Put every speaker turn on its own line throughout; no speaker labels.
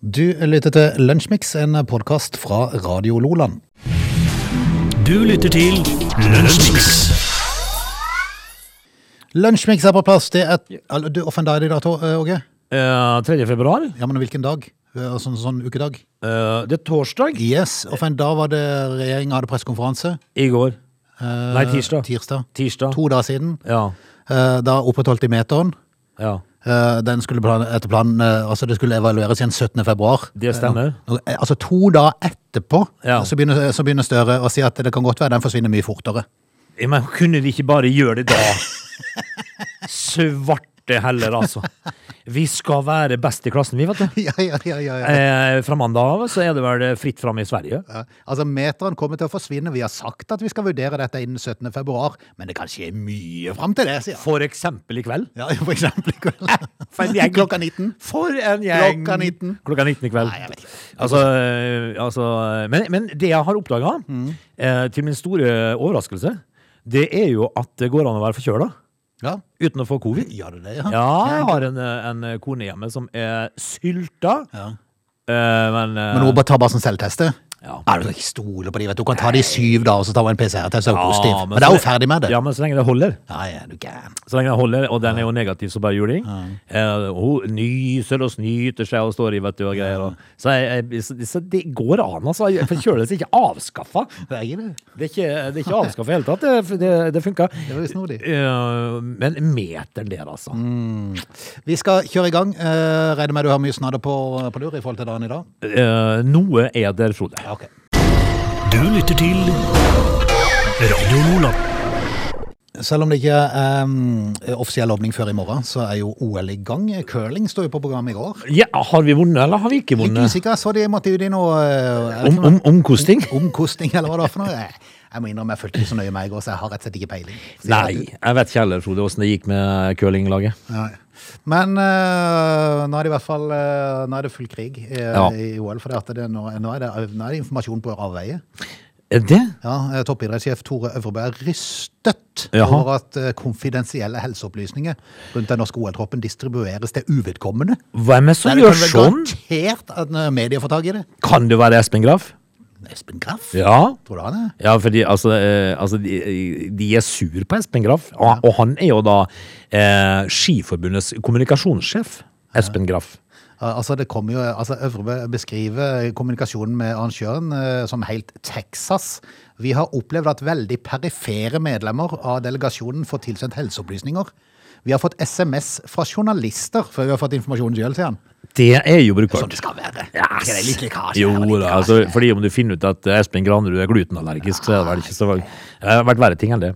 Du lytter til Lunsjmix, en podkast fra Radio Loland.
Du lytter til Lunsjmix.
Lunsjmix er på plass. Det er Al- Du, Hvilken dag er det i dag, Tor- eh, Åge?
3. februar.
Ja, men hvilken dag? Eh, Sånn, sånn ukedag?
Eh, det er torsdag.
Yes. Hvilken dag var det regjeringa hadde pressekonferanse?
I går.
Eh,
Nei, tirsdag.
tirsdag.
Tirsdag.
To dager siden.
Ja.
Eh, Da opprettholdt de meteren.
ja.
Eh, Den skulle plan, etter planen eh, Altså, det skulle evalueres igjen 17. februar.
Det stemmer.
Eh, nå- eh, Altså to dager etterpå
Ja.
så, begynner, så begynner Støre å si at det kan godt være den forsvinner mye fortere.
Eh, Men kunne de ikke bare gjøre det da? Svarte heller, altså. Vi skal være best i klassen, vi, vet du.
Ja, ja, ja, ja, ja.
Eh, fra mandag av så er det vel fritt fram i Sverige.
Ja, Altså, meteren kommer til å forsvinne. Vi har sagt at vi skal vurdere dette innen 17. februar, men det kan skje mye fram til det, sier han.
For eksempel i kveld.
Ja, for eksempel i kveld.
For en gjeng.
Klokka 19.
For en gjeng!
Klokka 19.
Klokka 19 i kveld.
Nei, jeg vet ikke.
Altså, eh, altså men, men det jeg har oppdaga,
Mm.
eh, til min store overraskelse, det er jo at det går an å være forkjøla
Ja,
uten å få covid.
gjør det det, ja?
Ja, jeg har en, eh, en kone hjemme som er sylta.
Ja.
Eh, men eh,
Men hun bare tar bare sånn selvteste?
Ja.
Nei, du kan ikke stole på de, vet du. Hun kan ta de i syv dager, og så tar hun en PCR-test og er
Ja,
positiv.
men
Men,
så
da er hun
det-
ferdig med det.
Ja, men så lenge det holder.
Ja, ja, du gæren.
Så lenge det holder, Og den er jo negativ, så bare juling. Eh, hun nyser og snyter seg og står i, vet du, og greier. Og, så, jeg, jeg, så, så det går an, altså. Forkjølelse er ikke avskaffa.
Det er ikke det.
Det er ikke, det er ikke avskaffa i hele tatt. Det, det, det funka.
Det var jo snodig. Mm.
Eh, men meter der, altså.
Vi skal kjøre i gang. Eh, regner med du har mye snadder på, på lur i forhold til dagen i dag?
Eh, noe er der, Frode.
Ja, ok.
Du lytter til Radio Nordland.
Selv om det ikke er em, offisiell åpning før i morgen, så er jo OL i gang. Curling sto jo på programmet i går.
Ja, har vi vunnet, eller har vi ikke
Litt
vunnet?
usikker, så de måtte ut i noe eh, jeg
Om,
vet
om, omkosting?
ikke om- omkosting, eller hva det var for noe. Jeg- Jeg må innrømme, jeg fulgte ikke så nøye med i går, så jeg har rett og slett ikke peiling. Sier
Nei,
at du-
jeg vet ikke heller, Frode, åssen det gikk med curlinglaget.
Nei. Men eh, nå er det i hvert fall eh, Nå er det full krig eh,
Ja.
i OL, for det at det, nå, nå, er det, nå er det informasjon på avveie.
Er det?
Ja, eh, Toppidrettssjef Tore Øvrebø er rystet
Jaha.
over at eh, konfidensielle helseopplysninger rundt den norske OL-troppen distribueres til uvedkommende.
Hvem er det
Nei,
som
det
gjør
kan vel
sånn?
garantert at eh, media får tak i det.
Kan det være Espen Graff?
Espen Graff?
Ja.
Tror du han er?
Ja, fordi altså, eh, altså de, de er sur på Espen Graff, og, og han er jo da eh, Skiforbundets kommunikasjonssjef. Espen Graff.
Al- Altså, det kommer jo, altså Øvrebø beskriver kommunikasjonen med arrangøren eh, som helt Texas. Vi har opplevd at veldig perifere medlemmer av delegasjonen får tilsendt helseopplysninger. Vi har fått SMS fra journalister før vi har fått informasjonen sjøl, sier han.
Det er jo brukbart.
Sånn skal være.
Yes.
Ikke det, litt lekkasje
jo,
her og litt
da,
lekkasje
altså,
der.
fordi om du finner ut at Espen Granerud er glutenallergisk, så er det vel ikke så Det har vært verre ting enn det.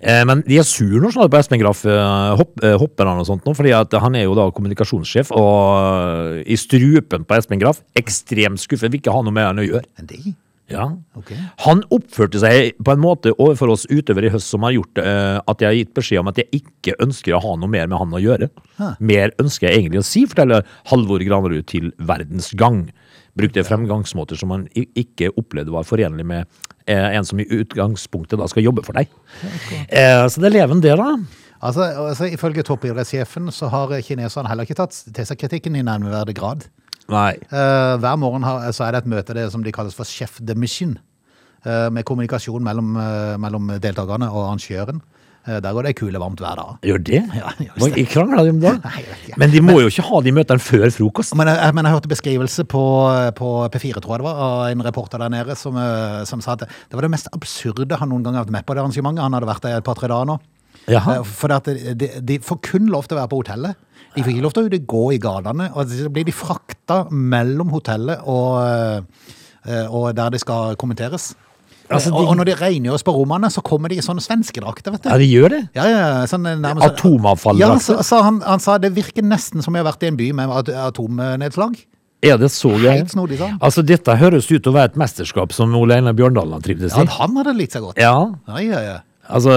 Eh, Men de er sure nå sånn, på Espen Graff, eh, hopp, eh, hopper han og sånt nå, fordi at han er jo da kommunikasjonssjef, og eh, i strupen på Espen Graff, ekstremt skuffet, vil ikke ha noe med han å gjøre.
Men de?
Ja.
Ok.
Han oppførte seg på en måte overfor oss utøvere i høst som har gjort eh, at jeg har gitt beskjed om at jeg ikke ønsker å ha noe mer med han å gjøre.
Hæ.
Mer ønsker jeg egentlig å si, forteller Halvor Granerud til Verdens Gang. Brukte fremgangsmåter som han i- ikke opplevde var forenlig med eh, en som i utgangspunktet da skal jobbe for deg. Eh, så det er leven det, da.
Altså, altså, Ifølge toppidrettssjefen så har kineserne heller ikke tatt til seg kritikken i nevneverdig grad.
Nei.
Eh, hver morgen har, så er det et møte det som de kalles for chef de mission, eh, med kommunikasjon mellom, eh, mellom deltakerne og arrangøren. Eh, der går det kule varmt hver dag.
Gjør det?
Ja, just
Hva-
det.
Krangler de om det?
Nei, jeg vet ikke.
Men de må jo ikke ha de møtene før frokost.
Men jeg, men jeg hørte beskrivelse på, på P4, tror jeg det var, av en reporter der nede som, eh, som sa at det var det mest absurde han noen gang har vært med på det arrangementet. Han hadde vært der i et par-tre dager nå.
Jaha.
Eh, For det at de, de får kun lov til å være på hotellet. De får ikke lov til å ut og gå i gatene. Og så blir de frakta mellom hotellet og, eh, og der de skal kommenteres.
Altså, de-
og, og når de rengjøres på rommene, så kommer de i sånne svenskedrakter, vet du.
Ja, de gjør det.
Ja, ja, ja, sånn nærmest Ja,
Atomavfalldrakter.
så, så han, han sa det virker nesten som jeg har vært i en by med at- eh, atomnedslag.
Er det så gøy?
Helt snodig, sant?
Altså, dette høres ut til å være et mesterskap som Ole Einar Bjørndalen har trivdes
Ja,
i.
han hadde litt seg godt.
Ja.
Ja, ja, ja.
Altså,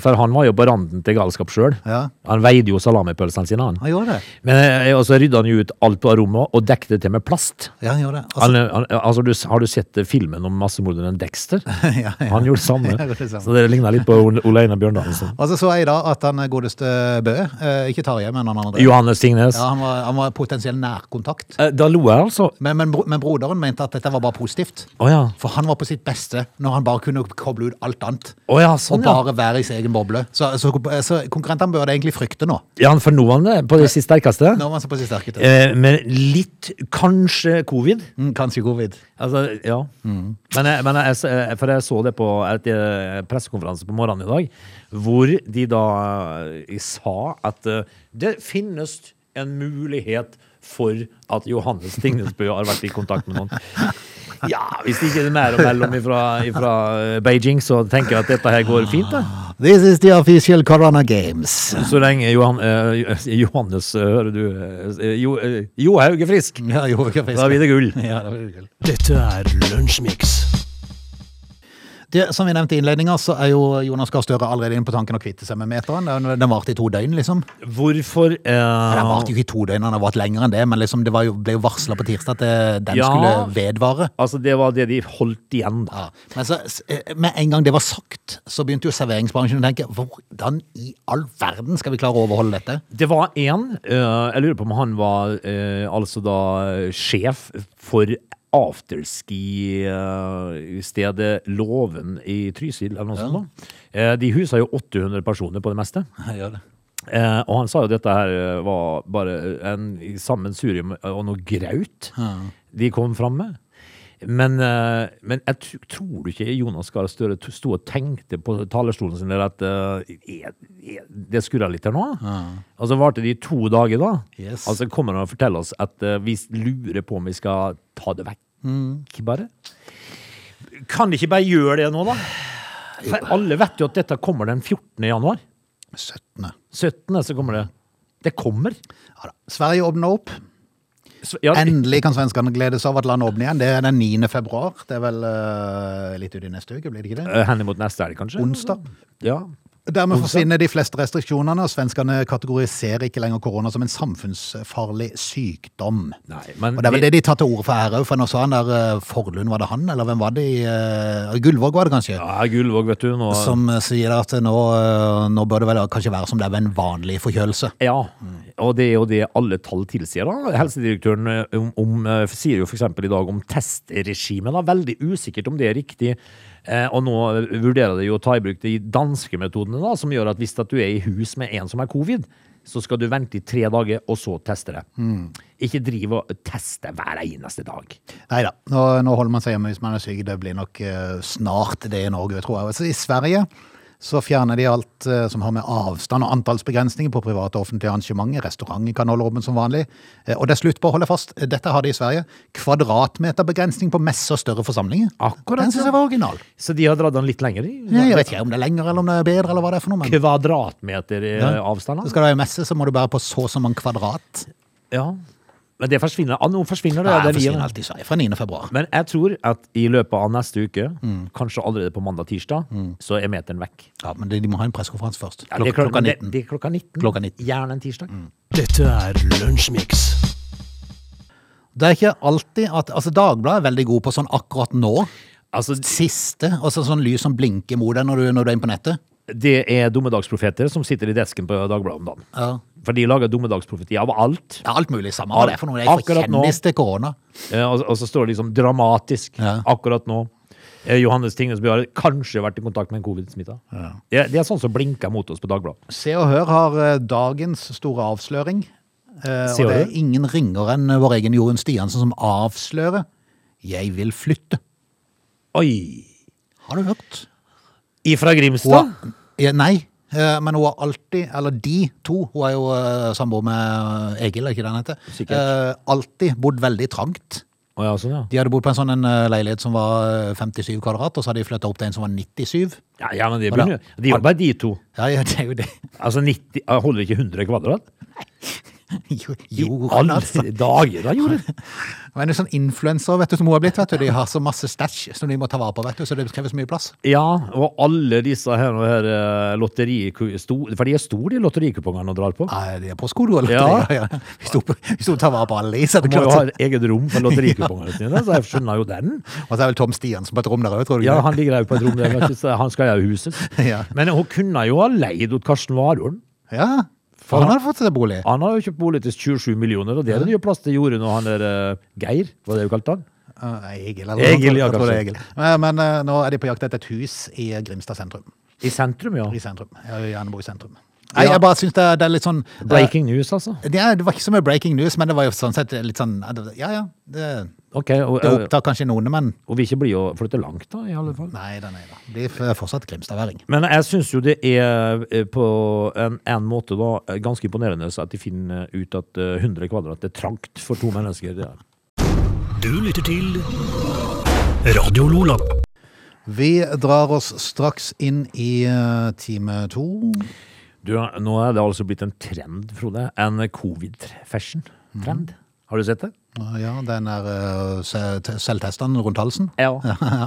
for han var jo på randen til galskap sjøl.
Ja.
Han veide jo salamipølsene sine, han.
Han gjorde det.
Men eh, og så rydda han jo ut alt på rommet og dekket det til med plast.
Ja, han gjorde det. Altså,
Han, han, altså, du, har du sett eh, filmen om massemorderen Dexter?
ja, ja.
Han gjorde det samme.
Jeg gjorde det samme.
Så det ligna litt på Ole- Ole Einar Bjørndalen.
Og så så jeg da at han godeste Bø, eh, ikke Tarjei, men han andre
Johannes Tingnes.
ja, han, var, han var potensiell nærkontakt.
Eh, Da lo jeg, altså.
Men, men, bro- men broderen mente at dette var bare positivt.
Å ja.
For han var på sitt beste når han bare kunne koble ut alt annet.
Å ja,
Og
sånn, ja.
bare være i sin egen boble. Så, så, så konkurrentene burde egentlig frykte nå.
Ja, for nå var han det, på det siste sterkeste.
Når man ser på sitt sterkeste.
Eh, men litt kanskje covid.
Mm, kanskje covid.
Altså, ja. Men, jeg, men jeg, jeg- for jeg så det på et eh, pressekonferanse på morgenen i dag, hvor de da eh, sa at eh, det finnes en mulighet for at Johannes Tingnesbø har vært i kontakt med noen. Ja, hvis ikke det er mer å melde om ifra, ifra eh, Beijing, så tenker jeg at dette her går fint, da.
This is the official Corona Games.
Så lenge Johan, eh, Johannes eh, Hører du eh, Jo, eh, jo Hauge Frisk,
Ja, jo, ikke fisk.
da blir det gull.
Ja, da blir det gull.
Dette er Lunsjmix.
Det, som vi nevnte i innledninga, så er jo Jonas Gahr Støre allerede inne på tanken å kvitte seg med meteren. Den, den varte i to døgn, liksom.
Hvorfor eh,
Den varte jo ikke i to døgn, den har vart lenger enn det, men liksom det var jo, ble jo varsla på tirsdag at eh, den
Ja.
skulle vedvare.
Altså, det var det de holdt igjen, da.
Ja. Men så, s- eh, med en gang det var sagt, så begynte jo serveringsbransjen å tenke hvordan i all verden skal vi klare å overholde dette?
Det var én. jeg lurer på om han var eh, altså da sjef for afterski-stedet Låven i Trysil, eller noe sånt. da. Eh, de husa jo 800 personer på det meste.
Gjør det.
Eh, og han sa jo dette her eh, var bare en sammensurium og noe graut de kom fram med. Men, eh, men jeg tr- tror du ikke Jonas Gahr Støre t- sto og tenkte på talerstolen sin der at eh, er, er, det skurrer litt her nå? Og så varte det i to dager, da.
Yes.
Og så kommer han og forteller oss at eh, vi lurer på om vi skal ta det vekk,
Mm.
bare. Kan de ikke bare gjøre det nå, da? For alle vet jo at dette kommer den 14. januar.
17.
17. så kommer det. Det kommer.
Ja da. Sverige åpner opp.
Så- Ja,
Endelig kan svenskene glede seg over at landet åpner igjen. Det er den 9. februar. Det er vel eh, litt uti neste uke, blir det ikke det?
eh, Henimot neste helg, kanskje?
Onsdag.
Ja.
Dermed forsvinner de fleste restriksjonene, og svenskene kategoriserer ikke lenger korona som en samfunnsfarlig sykdom.
Nei, men
Og Det er vel
vi-
det de tar til orde for her òg, for nå sa han der eh, Forlund, var det han, eller hvem var det? i, eh, Gullvåg var det kanskje?
Ja, Gullvåg, vet du. Nå,
Som eh, sier at nå, eh, nå bør det vel kanskje være som det er ved en vanlig forkjølelse.
Ja,
Mm.
og det er jo det alle tall tilsier. da. Helsedirektøren eh, om, om, eh, sier jo f.eks. i dag om testregimet. da. Veldig usikkert om det er riktig. Eh, og nå vurderer de jo å ta i bruk de danske metodene, da, som gjør at hvis at du er i hus med en som er covid, så skal du vente i tre dager, og så teste det.
Mm.
Ikke drive og teste hver eneste dag.
Nei da, nå, nå holder man seg hjemme hvis man er syk. Det blir nok eh, snart det i Norge, tror jeg. Altså, I Sverige så fjerner de alt eh, som har med avstand og antallsbegrensninger på private og offentlige arrangementer. Restauranter kan holde åpent som vanlig. Eh, og det er slutt på, holde fast, dette har de i Sverige, kvadratmeterbegrensning på messer og større forsamlinger.
Akkurat,
Den syns jeg var original.
Så de har dratt den litt lenger? i?
Jeg vet ikke om det er lenger eller om det er bedre, eller hva det er for noe. men...
Kvadratmeter i eh, avstand? da?
Så skal du ha en messe, så må du bære på så og så mange kvadrat.
Ja. Men det forsvinner. Ah, nå forsvinner det.
Nei,
det
det
er vi-
forsvinner alltid i Sverige fra 9. februar.
Men jeg tror at i løpet av neste uke,
Mm.
kanskje allerede på mandag-tirsdag, så er meteren vekk.
Ja, men de, de må ha en pressekonferanse først.
Ja, det er
Klok Mm. klokka
det-
19.
Det, er klokka 19.
Klokka Mm. 19.
Gjerne en tirsdag.
Dette er Lunsjmix.
Det er ikke alltid at Altså, Dagbladet er veldig god på sånn akkurat nå.
Altså,
Siste. Altså sånn lys som blinker mot deg når du, når du er inne på nettet.
det er dommedagsprofeter som sitter i desken på Dagbladet om dagen.
Ja.
For de lager dommedagsprofetier av alt.
Ja, alt mulig samme hva det er for noe. Det er for
Akkurat nå.
kjendis til korona.
Eh, Og, og så står det liksom dramatisk
Ja.
akkurat nå. eh, Johannes Tingnesbø har kanskje vært i kontakt med en covid-smitta. Det, det er sånn som blinker mot oss på Dagbladet.
Se og Hør har eh, dagens store avsløring. Eh,
Se og
og det er
Hør?
ingen ringere enn vår egen Jorunn Stiansen som avslører 'Jeg vil flytte'.
Oi!
Har du hørt?
Ifra
Hun
Grimstad?
har, ja, nei, eh, men hun har alltid, eller de to, hun er jo eh, samboer med eh, Egil, er ikke det han heter?
Sikkert.
Eh, alltid bodd veldig trangt.
Å ja, sånn, ja.
De hadde bodd på en sånn en eh, leilighet som var eh, 57 kvadrat, og så hadde de flyttet opp til en som var 97.
Ja, ja, men det
Hva da?
begynner jo De er jo bare de to.
Ja, ja, det er jo det.
Altså 90 Holder ikke 100 kvadrat?
Jo-
I
Jonas.
alle dager han gjorde det.
Hun er en sånn influenser, vet du, som hun har blitt. vet du. De har så masse stæsj som de må ta vare på, vet du, så det krever så mye plass.
Ja, og alle disse her, og her eh, lotteri... sto- For de er store, de lotterikupongene han drar på.
Nei, de er på skolen. eller?
Ja.
Ja, ja. Hvis hun hvis hun tar vare på alle i, så er det
Må jo ha
klart.
et eget rom for lotterikupongene sine, så jeg skjønner jo den.
Og så er vel Tom Stiansen på et rom der òg, tror du?
Ja,
ikke?
han ligger der jo på et rom der, vet du, så han skal jo huses.
Ja.
Men hun kunne jo ha leid ut Karsten Warholm.
ja. For han hadde fått seg bolig.
Han har jo kjøpt bolig til 27 millioner, og det er det nye plass til jordet når han er eh, Geir, var det du kalte han?
Eh, Egil, eller
Egil,
noe sånt.
ja,
Jeg tror det er
kanskje.
Egil. Eh, Men eh, nå er de på jakt etter et hus i Grimstad sentrum.
I sentrum, ja.
I sentrum. Ja, I Andebu sentrum.
Ja.
Nei, jeg bare syns det, er- det er litt sånn eh,
Breaking news, altså.
Det, er- det var ikke så mye breaking news, men det var jo sånn sett litt sånn eh, det- Ja ja, det,
Ok, og, eh,
det opptar kanskje noen, men
og vi ikke blir å flytte langt da, i alle fall.
nei da, nei da. Blir f- fortsatt grimstadværing.
Men jeg syns jo det er eh, på en, en måte da eh, ganske imponerende så at de finner ut at eh, 100 kvadrat er trangt for to mennesker. Det er.
Du lytter til Radio Lola.
Vi drar oss straks inn i eh, time to.
Du, nå er det altså blitt en trend, Frode. En covid-fashion-trend. Mm. Har du sett det?
Eh, Ja, den er eh, se- te- selvtesteren rundt halsen.
Ja.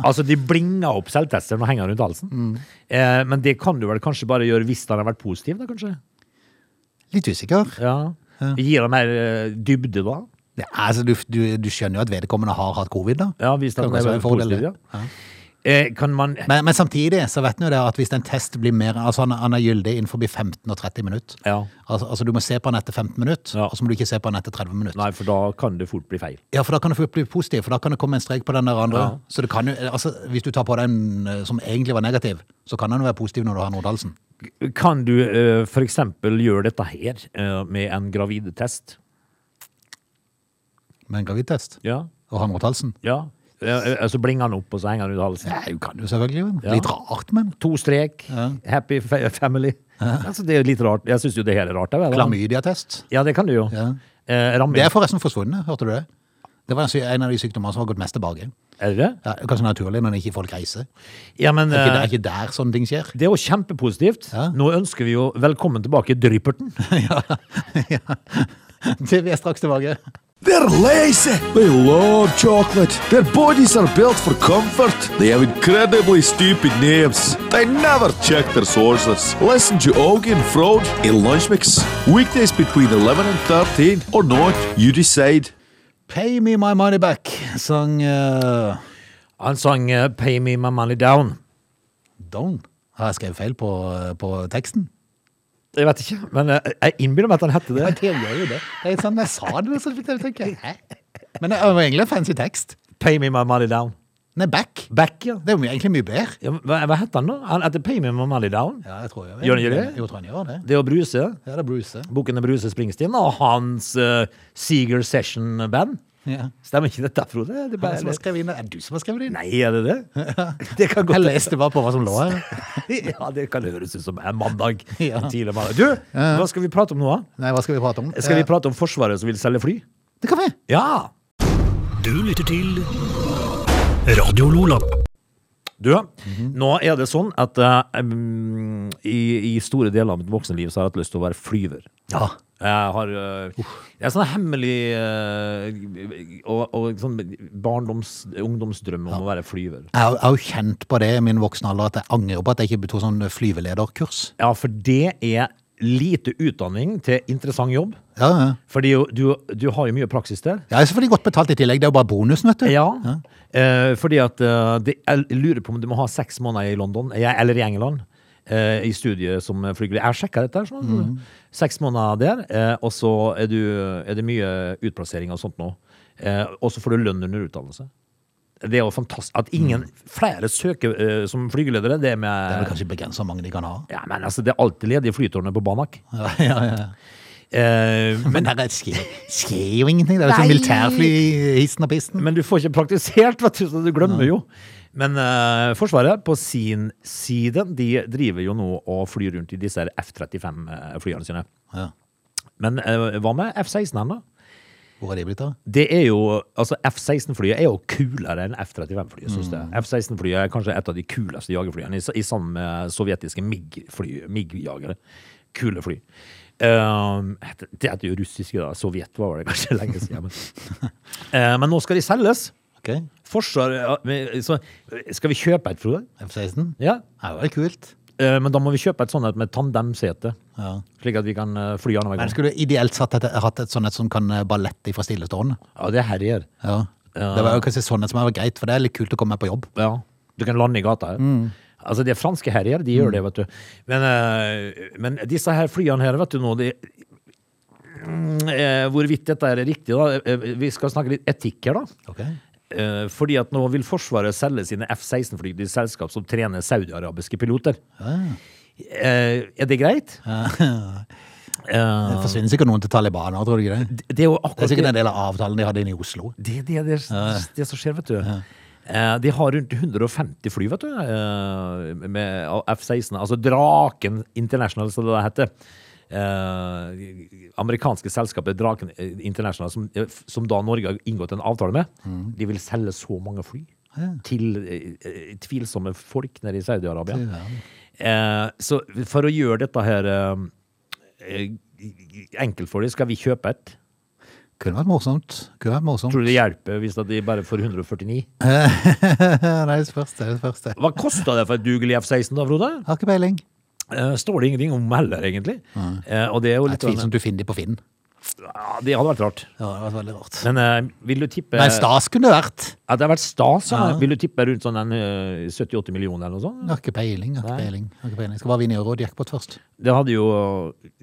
altså, de blinger opp selvtester og henger rundt halsen. Eh, men det kan du vel kanskje bare gjøre hvis den har vært positiv, da kanskje?
Litt usikker.
Ja. Gir den mer eh, dybde, da?
Ja, altså, du, du, du skjønner jo at vedkommende har hatt covid, da.
Ja, hvis den
Kan kanskje
er
være en fordel,
positiv,
det.
ja. Eh, kan man
Men, men samtidig så vet vi jo det at hvis en test blir mer Altså han, han er gyldig innenfor 15 og 30 minutter.
Ja.
Altså, altså du må se på han etter 15 minutter,
Ja.
og så må du ikke se på han etter 30 minutter.
Nei, for da kan det fort bli feil.
Ja, for da kan du få bli positiv, for da kan det komme en strek på den der andre.
Ja.
Så det kan jo, altså hvis du tar på den eh, som egentlig var negativ, så kan han jo være positiv når du har Nordhalsen.
Kan du eh, for eksempel gjøre dette her eh, med en gravidetest?
Med en gravidtest
Ja.
og har Nordhalsen.
ja. Eh, eh, så blinger den opp, og så henger den ut halsen.
Nei, du kan jo selvfølgelig. men
Ja.
Litt rart, men.
To strek, happy fa family. Altså, det er jo litt rart. Jeg syns jo det her er rart. jeg, vel?
Klamydiatest.
Ja, det kan du jo.
Ja.
Eh, ramming.
Det er forresten forsvunnet, hørte du det? Det var en sy- en av de sykdommene som har gått mest tilbake.
Er det det?
Ja, kanskje naturlig når ikke folk reiser.
Ja, men
Er ikke, det
eh,
er ikke der sånne ting skjer?
det er jo kjempepositivt.
Ja.
Nå ønsker vi jo velkommen tilbake Drypperten.
Det vi er straks tilbake.
They're lazy. They love chocolate. Their bodies are built for comfort. They have incredibly stupid names. They never check their sources. Listen to Augie and Frode in Lunch Mix. Weekdays between 11 and 13 or not, you decide.
Pay me my money back, sang eh,
Han sang eh, 'Pay me my money down'.
Down. Har jeg skrevet feil på, eh, på teksten?
Jeg vet ikke, men eh, jeg innbiller meg at han hette det.
Men det gjør jo det. Det er sånn, jeg sa det, så fikk jeg tenke. Hæ? Men det var egentlig en fancy tekst.
'Pay me my money down'.
Nei, back.
Back, ja.
Det er jo egentlig mye bedre.
Ja, men hva, hva heter han da? Han heter Pay Me My Money Down.
Ja, jeg tror jeg
Gjør den ikke det?
Jo, tror han gjør det.
Det er å Bruse.
Ja, det er Bruce.
Boken er Bruse Springsteen og hans eh, Seeger Session Band.
Ja.
Stemmer ikke dette, Frode? Det er
Han som
bare,
har skrevet inn det. Er det du som har skrevet det inn?
nei, er det det? Det kan
Jeg
godt
leste bare på hva som lå her.
Ja, det kan høres ut som en mandag.
Ja.
En tidlig mandag. Du, hva skal vi prate om nå? da?
Nei, hva skal vi prate om?
Skal vi
Eh,
prate om Forsvaret som vil selge fly?
Det kan vi.
Ja!
Du lytter til Radio Lola.
Du,
Mhm.
nå er det sånn at eh, mm, i, i store deler av mitt voksenliv så har jeg hatt lyst til å være flyver.
Ja.
Jeg har eh, Det er sånn hemmelig eh, og, og sånn barndoms, ungdomsdrøm om å være flyver.
Jeg har- jeg har jo kjent på det i min voksne alder at jeg angrer på at jeg ikke tok sånn flyvelederkurs.
Ja, for det er lite utdanning til interessant jobb.
Ja, ja.
For du, du har jo mye praksis der.
Jeg er selvfølgelig godt betalt i tillegg, det er jo bare bonusen, vet du.
Ja, eh, fordi at eh, det, jeg lurer på om du må ha seks måneder i London, eh, eller i England, eh, i studiet som flyger. Jeg har sjekket dette, her,
Mhm.
sånn. Seks måneder der, eh, og så er, du, er det mye utplassering og sånt nå. Eh, og så får du lønn under utdannelse. Det er jo fantastisk. At ingen flere søker eh, som flygeledere, det
Mm. Det er
er med...
vel kanskje begrenset hvor mange de kan ha.
Ja, men altså, det er alltid ledige flytårnet på Banak.
Ja, ja, ja.
Eh,
Men der er- skjer, skjer jo ingenting. Det er jo sånn
Nei.
militærfly, hissen og pisten.
Men du får ikke praktisert, vet du, så du glemmer jo. Men eh, Forsvaret på sin side, de driver jo nå og flyr rundt i disse her F-35-flyene sine.
Ja.
Men eh, hva med F-16-en, da?
Hvor er de blitt av?
Det er jo, altså F-16-flyet er jo kulere enn F-35-flyet, synes jeg. F-16-flyet er kanskje et av de kuleste jagerflyene, i, i sammen med sovjetiske MiG-fly- MiG-jagere. Kule fly. Eh, Ehm, det- det heter jo russiske, da. Sovjet var det kanskje lenge siden. Men, Eh, men nå skal de selges.
Ok,
Forsvar, ja, men, så, skal vi kjøpe et, Frode?
F-16.
Ja.
Ja, Det var kult.
Eh, men da må vi kjøpe et sånt et med tandemsete.
Ja.
Slik at vi kan eh, fly annenhver
Men
gang.
skulle du ideelt satt et, hatt et sånn et som kan eh, ballette fra stillestående?
Ja, det herjer.
Ja. Det var jo kanskje sånn et som var greit, for det er litt kult å komme på jobb.
Ja, du kan lande i gata her. Altså, de franske herjer, de gjør det, vet du. Men, eh, men disse her flyene her, vet du nå, de Mm, eh, Hvorvidt dette er riktig, da. eh, Vi skal snakke litt etikk her, da. Eh, Fordi at nå vil Forsvaret selge sine F-16-fly til selskap som trener saudiarabiske piloter. Eh, Er det greit?
Det forsvinner sikkert noen til Taliban nå, tror du ikke det?
Det er jo
Det
akkurat
er sikkert en del av avtalen de hadde inne i Oslo.
Det er det, det, er det som skjer, vet du. Eh, De har rundt 150 fly, vet du, eh, med av F-16. Altså Draken International, som det heter. Eh, amerikanske selskapet Draken International, som, eh, som da Norge har inngått en avtale med,
Mm.
de vil selge så mange fly til eh, tvilsomme folk nede i Saudi-Arabia. Eh, så for å gjøre dette her eh, enkelt for dem, skal vi kjøpe et.
Kunne vært morsomt. Kunne vært morsomt.
Tror du det hjelper hvis at de bare får 149?
Nei, det spørs det. det spørs det.
Hva kosta det for et dugelig F-16 da, Frode?
Har ikke peiling.
Eh, Står det ingenting om heller, egentlig? Eh, Og det er jo
Det er
litt sånn-
tvilsomt du finner de på Finn.
ja, Det hadde vært rart.
Ja, det var veldig rart.
Men eh, vil du tippe
Nei, stas kunne det vært.
Ja, det har vært stas? Ja.
Ja.
Vil du tippe rundt sånn en, eh, 70-80 millioner eller noe sånt?
Har ikke peiling. Har ikke
Nei.
peiling. Har ikke peiling. Skal bare vinne euro og jackpot først.
Det hadde jo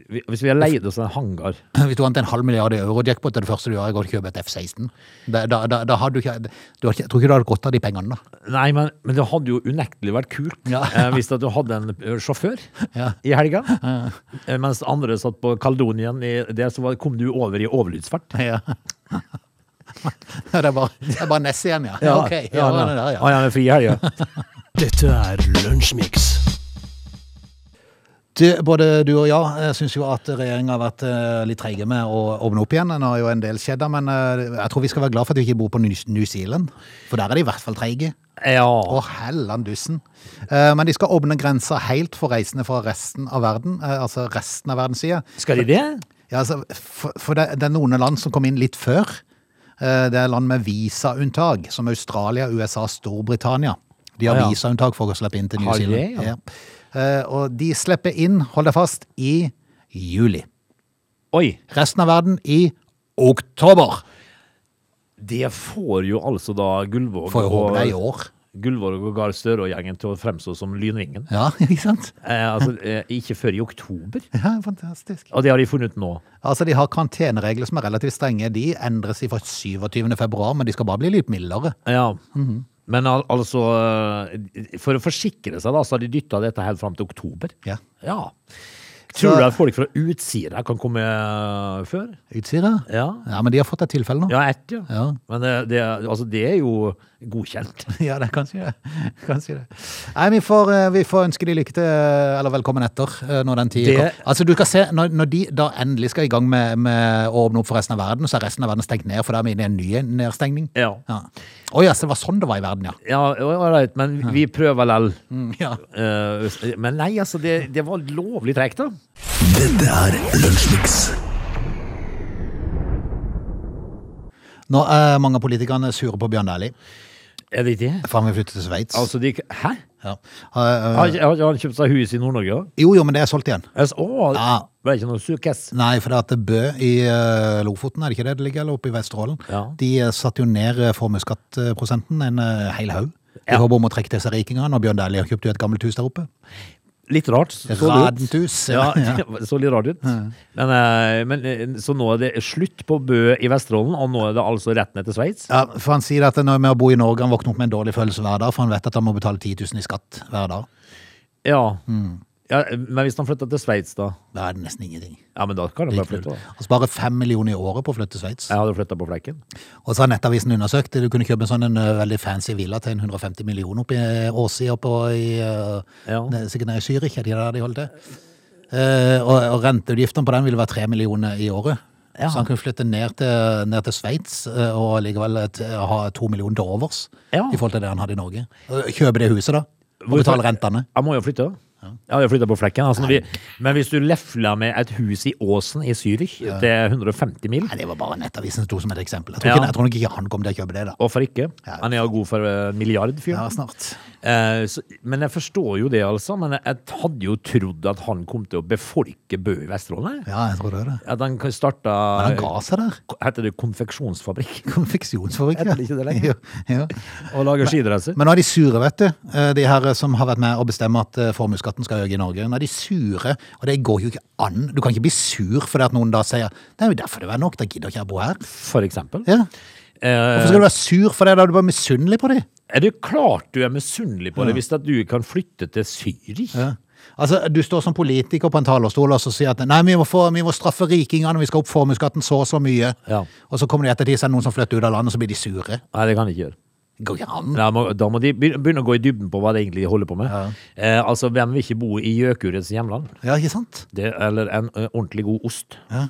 vi- Hvis vi hadde leid oss en hangar
Hvis du vant en halv milliard i euro jackpot, det er det første du gjør, er å kjøpe et F-16. Da, da, da, da har du ikke, du har ikke Jeg tror ikke du hadde godt av de pengene, da.
Nei, men, men det hadde jo unektelig vært kult
Ja.
eh, hvis at du hadde en eh, sjåfør
Ja.
i helga. Eh, Mens andre satt på Kaldonien i det, så var- kom du over i overlydsfart.
Ja. det er bare, det er bare Ness igjen, ja. ok. Ja,
ja,
det der, ja.
Ah, ja, med fri helg, ja.
Dette er Lunsjmix.
Du, både du og jeg syns jo at regjeringa har vært eh, litt treige med å åpne opp igjen. Nå har jo en del skjedd, da, men eh, jeg tror vi skal være glad for at vi ikke bor på Ny- New Zealand. For der er de i hvert fall treige.
ja.
Å, hellan dussen. Eh, Men de skal åpne grensa helt for reisende fra resten av verden. eh, Altså resten av verdens side.
Skal de det?
Ja, altså, for for det, det er noen land som kom inn litt før. Eh, Det er land med visaunntak, som Australia, USA, Storbritannia. De har
Ah, ja.
visaunntak for å slippe inn til New
Har de,
Zealand.
ja?
Eh, Og de slipper inn, hold deg fast, i juli.
Oi,
Resten av verden i oktober.
det får jo altså da Gullvåg
Får jo håpe det er i
og,
år.
Gullvåg og Gahr Støre og gjengen til å fremstå som lynringen.
Ja, ikke sant?
Eh, altså, eh, ikke før i oktober.
Ja, fantastisk.
Og det har de funnet ut nå.
Altså, De har karanteneregler som er relativt strenge. De endres fra 27. februar, men de skal bare bli litt mildere.
Ja.
Mhm.
Men al altså eh, For å forsikre seg, da, så har de dytta dette helt fram til oktober.
Ja.
Ja.
Så-
Tror du at folk fra utsida kan komme eh, før?
Utsida?
Ja.
Ja, men de har fått et tilfelle nå.
Ja, ett, ja.
Ja.
Men det, det, altså, det er jo godkjent.
Ja, det er kanskje det. Kanskje det. Nei, vi får, eh, vi får ønske de lykke til, eh, eller velkommen etter, eh, når den tida
Det-
kommer. Altså, du kan se, når, når de da endelig skal i gang med, med å åpne opp for resten av verden, så er resten av verden stengt ned, for da er vi inne i en ny nedstengning.
Ja.
Ja. Å ja, så det var sånn det var i verden, ja. Mm,
Ja, ålreit, men vi prøver lell.
ja.
Eh, men nei, altså, det, det var lovlig tregt, da.
Dette er Lunsjmix.
Nå er mange av politikerne sure på Bjørn Dæhlie,
Er det ikke det?
for han vil flytte til Sveits.
Altså, de, hæ?
Ja. Eh, eh,
Har, ikke- har, ikke han kjøpt seg hus i Nord-Norge òg?
Jo, jo, men det er solgt igjen.
Å,
Ja.
ble ikke noe sukkes?
Nei, for det er at Bø i eh, Lofoten, er det ikke det det ligger, eller oppe i Vesterålen,
Ja.
de eh, satte jo ned eh, formuesskattprosenten en eh, hel haug. I
Ja.
håp om å trekke til seg rikingene, og Bjørn Dæhlie har kjøpt jo et gammelt hus der oppe.
Litt rart. så det ut.
Radent hus.
Ja,
Ja.
det så litt rart ut. Men, eh, men, eh, så nå er det slutt på Bø i Vesterålen, og nå er det altså rett ned til Sveits?
Ja, for han sier at når med å bo i Norge, han våkner opp med en dårlig følelse hver dag, for han vet at han må betale 10 000 i skatt hver dag.
Ja. ja. Men hvis han flytter til Sveits, da?
Da er det nesten ingenting.
Ja, men da kan han bare flytte, da.
Han sparer 5 millioner i året på å flytte til Sveits.
Jeg hadde flytta på flekken.
Og så har Nettavisen undersøkt, du kunne kjøpe en sånn en eh, veldig fancy villa til en 150 millioner oppe i Åsia, oppe i, eh,
Ja.
ne- sikkert nede i Zürich, er det der de holdt til? Eh, og, og renteutgiftene på den ville være 3 millioner i året.
Ja.
Så han kunne flytte ned til, ned til Sveits eh, og likevel eh, t- ha 2 millioner til overs
Ja.
i forhold til det han hadde i Norge. Eh, Kjøpe det huset da, og
Hvorfor-
betale rentene.
Jeg må jo flytte, da. Ja, vi flytta på flekken. Altså, når vi, men hvis du lefla med et hus i Åsen i Zürich, det er 150 mil.
Nei, det var bare Nettavisen som sto som et eksempel. Jeg tror,
Ja.
ikke, jeg tror nok ikke han kom til å kjøpe det, da.
Hvorfor ikke?
Ja.
Han er jo god for eh, milliard, fyren.
Ja, snart.
Eh, så- men jeg forstår jo det, altså. Men jeg, jeg hadde jo trodd at han kom til å befolke Bø i Vesterålen. jeg.
Ja, jeg tror det er det.
At han starta
Men han ga seg der.
Heter det konfeksjonsfabrikk?
Konfeksjonsfabrikk.
Heter det ikke det lenger?
Jo, jo.
Og lager skidresser?
Men nå er de sure, vet du. Eh, De her eh, som har vært med å bestemme at eh, formuesskatten skal øke i Norge. Nå er de sure, og det går jo ikke an. Du kan ikke bli sur fordi at noen da sier det er jo derfor det var nok, da gidder ikke jeg å bo her.
For eksempel.
Ja.
Eh,
Hvorfor skal du være sur for det? Da er du bare misunnelig på dem.
er det jo klart du er misunnelig på det, hvis at du kan flytte til Zürich?
Ja. Altså, Du står som politiker på en talerstol og så sier at nei, vi må, få, vi må straffe rikingene, vi skal opp formuesskatten så og så mye.
Ja.
Og så kommer det i ettertid så er det noen som flytter ut av landet, og så blir de sure.
Nei, det kan jeg ikke gjøre.
Det går ikke an.
Nei, må, da må de begyn- begynne å gå i dybden på hva de egentlig holder på med. Eh, altså, hvem vil ikke bo i gjøkurets hjemland?
Ja, ikke sant?
Det, eller en eh, ordentlig god ost.
Ja.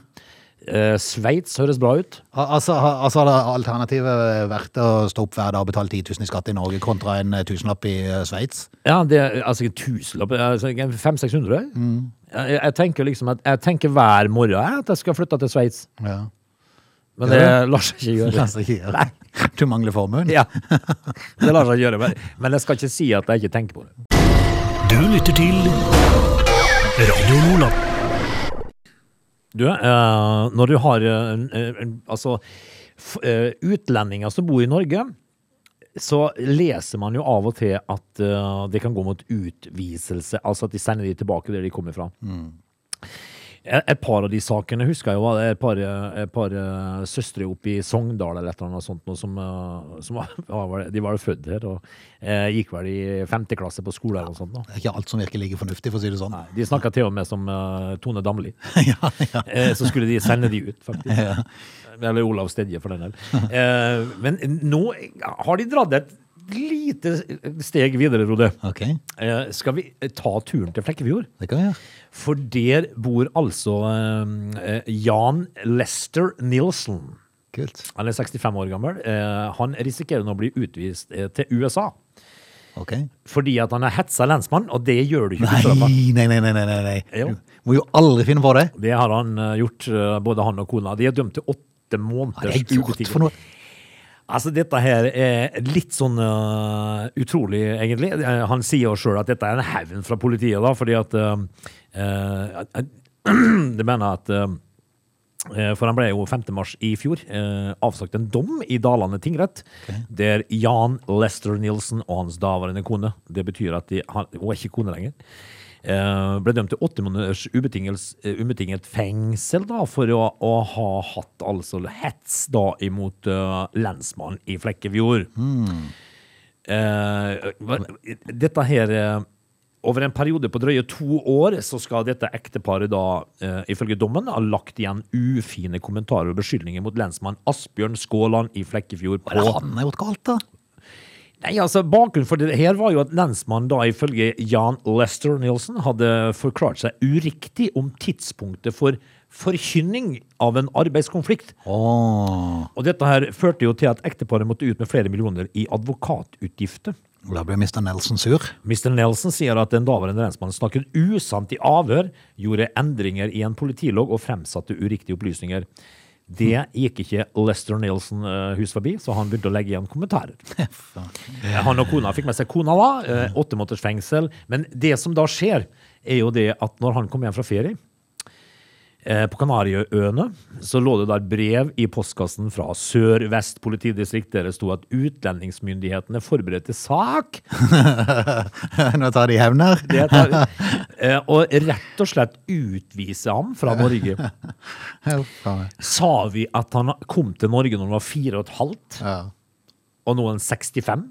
Eh, Sveits høres bra ut.
Al- Altså, ha- altså hadde alternativet vært å stå opp hver dag og betale 10 000 i skatt i Norge kontra en eh, tusenlapp i eh, Sveits?
Ja, det er altså en tusenlapp, altså, 500-600.
Mm.
Jeg, jeg tenker liksom at jeg tenker hver morgen jeg, at jeg skal flytte til Sveits,
Ja.
men
Gjør
det
du?
lar seg ikke gjøre.
Altså, ikke gjør det. Du mangler formuen?
Ja, det lar seg gjøre, men, men jeg skal ikke si at jeg ikke tenker på det.
Du lytter til Radio Nordland.
Du, eh, når du har eh, en- en- altså f, eh, utlendinger som bor i Norge, så leser man jo av og til at eh, det kan gå mot utviselse, altså at de sender de tilbake der de kommer fra. Et et par av de sakene husker jeg jo, var det et par, et par eh, søstre oppe i Sogndal eller et eller annet sånt, noe som, eh, som var, var, det- de var jo født her og eh, gikk vel i femte klasse på skole eller noe sånt. Da.
Det er ikke alt som virker like fornuftig, for å si det sånn.
De snakka til og med som eh, Tone Damli.
ja, ja.
Eh, så skulle de sende de ut, faktisk. Eller Olav Stedje, for den del. Eh, men nå har de dratt et lite steg videre, Rode.
Ok,
Eh, skal vi ta turen til Flekkefjord?
det kan vi gjøre.
For der bor altså eh, Jan Lester Nilsen.
Kult.
Han er 65 år gammel. Eh, han risikerer nå å bli utvist eh, til USA.
Ok.
Fordi at han er hetsa lensmann, og det gjør du ikke.
Nei,
på straffa.
nei, nei, nei, nei, nei.
Jo.
Du må jo aldri finne på det.
Det har han eh, gjort, eh, både han og kona. De er dømt til åtte
Hva
måneders
har jeg gjort
ubetinget-
for noe?
Altså, dette her er litt sånn eh, utrolig, egentlig. Eh, han sier jo sjøl at dette er en hevn fra politiet, da, fordi at eh, eh, at- Det mener jeg at eh, eh, For han ble jo 5. mars i fjor eh, avsagt en dom i Dalane tingrett, der Jan Lester Nilsen og hans daværende kone Det betyr at de, han, hun er ikke kone lenger. eh, Ble dømt til åtte måneders ubetingels- eh, ubetinget fengsel da, for å, å ha hatt altså hets da imot eh, lensmannen i Flekkefjord. Eh, hva- dette her eh, Over en periode på drøye to år så skal dette ekteparet da, eh, ifølge dommen, ha lagt igjen ufine kommentarer og beskyldninger mot lensmann Asbjørn Skåland i Flekkefjord.
Hva er det
På.
han har gjort galt, da?
Nei, altså Bakgrunnen for det her var jo at lensmannen da, ifølge Jan Lester Nielsen, hadde forklart seg uriktig om tidspunktet for forkynning av en arbeidskonflikt.
Åh,
Og dette her førte jo til at ekteparet måtte ut med flere millioner i advokatutgifter.
da ble Mr. Nelson sur.
Mr. Nelson sier at den daværende lensmannen snakket usant i avhør, gjorde endringer i en politilog og fremsatte uriktige opplysninger. Det gikk ikke Lester Nelson eh, hus forbi, så han begynte å legge igjen kommentarer. Eh, Han og kona fikk med seg kona da, eh, åtte måneders fengsel. Men det som da skjer, er jo det at når han kom hjem fra ferie, eh, på Kanariøyene så lå det der brev i postkassen fra Sør-Vest politidistrikt der det sto at utlendingsmyndighetene forberedte sak
Nå tar de hevn her.
det tar, eh, og rett og slett utvise ham fra Norge.
Ja, faen meg.
Sa vi at han kom til Norge når han var fire og et halvt,
Ja.
og nå er han 65?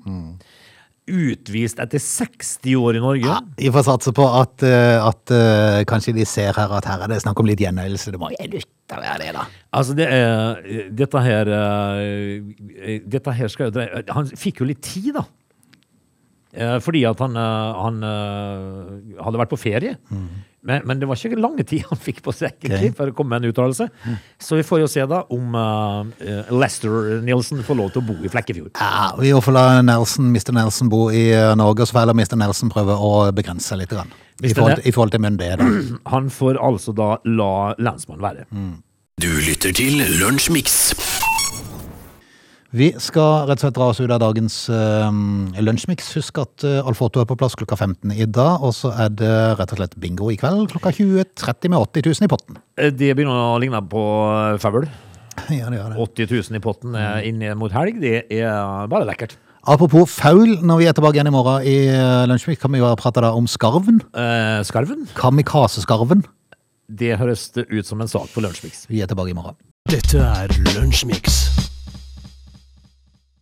Utvist etter 60 år i Norge?
Vi får satse på at, eh, at eh, kanskje de ser her at her er det snakk om litt gjenøyelse. Det må jo lytte være det, da.
Altså, det er, dette her eh, Dette her skal jo dreie Han fikk jo litt tid, da. Eh, Fordi at han, eh, han eh, hadde vært på ferie. Men, men det var ikke lange tid han fikk på seg egentlig,
Ok.
for å komme med en uttalelse. Så vi får jo se da om eh, Lester Nielsen får lov til å bo i Flekkefjord.
Ja, vi får la Nelson, Mr. Nelson bo i eh, Norge, og så får heller Mr. Nelson prøve å begrense seg litt. Grann. I forhold, i forhold til myndighetene.
Han får altså da la lensmannen være.
Du lytter til Lunsjmix.
Vi skal rett og slett dra oss ut av dagens um, lunsjmiks. Husk at eh, Alf Otto er på plass klokka 15 i dag, og så er det rett og slett bingo i kveld klokka 20.30 med 80 000 i potten.
Eh, Det begynner å ligne på eh, fugl.
Ja, det gjør det.
80 000 i potten eh, inn mot helg, det er bare lekkert.
Apropos faul, når vi er tilbake igjen i morgen i eh, lunsjmiks, kan vi jo prate da om skarven.
Eh, Skarven,
Kamikazeskarven.
det høres ut som en sak på Lunsjmix.
Vi er tilbake i morgen.
Dette er Lunsjmix.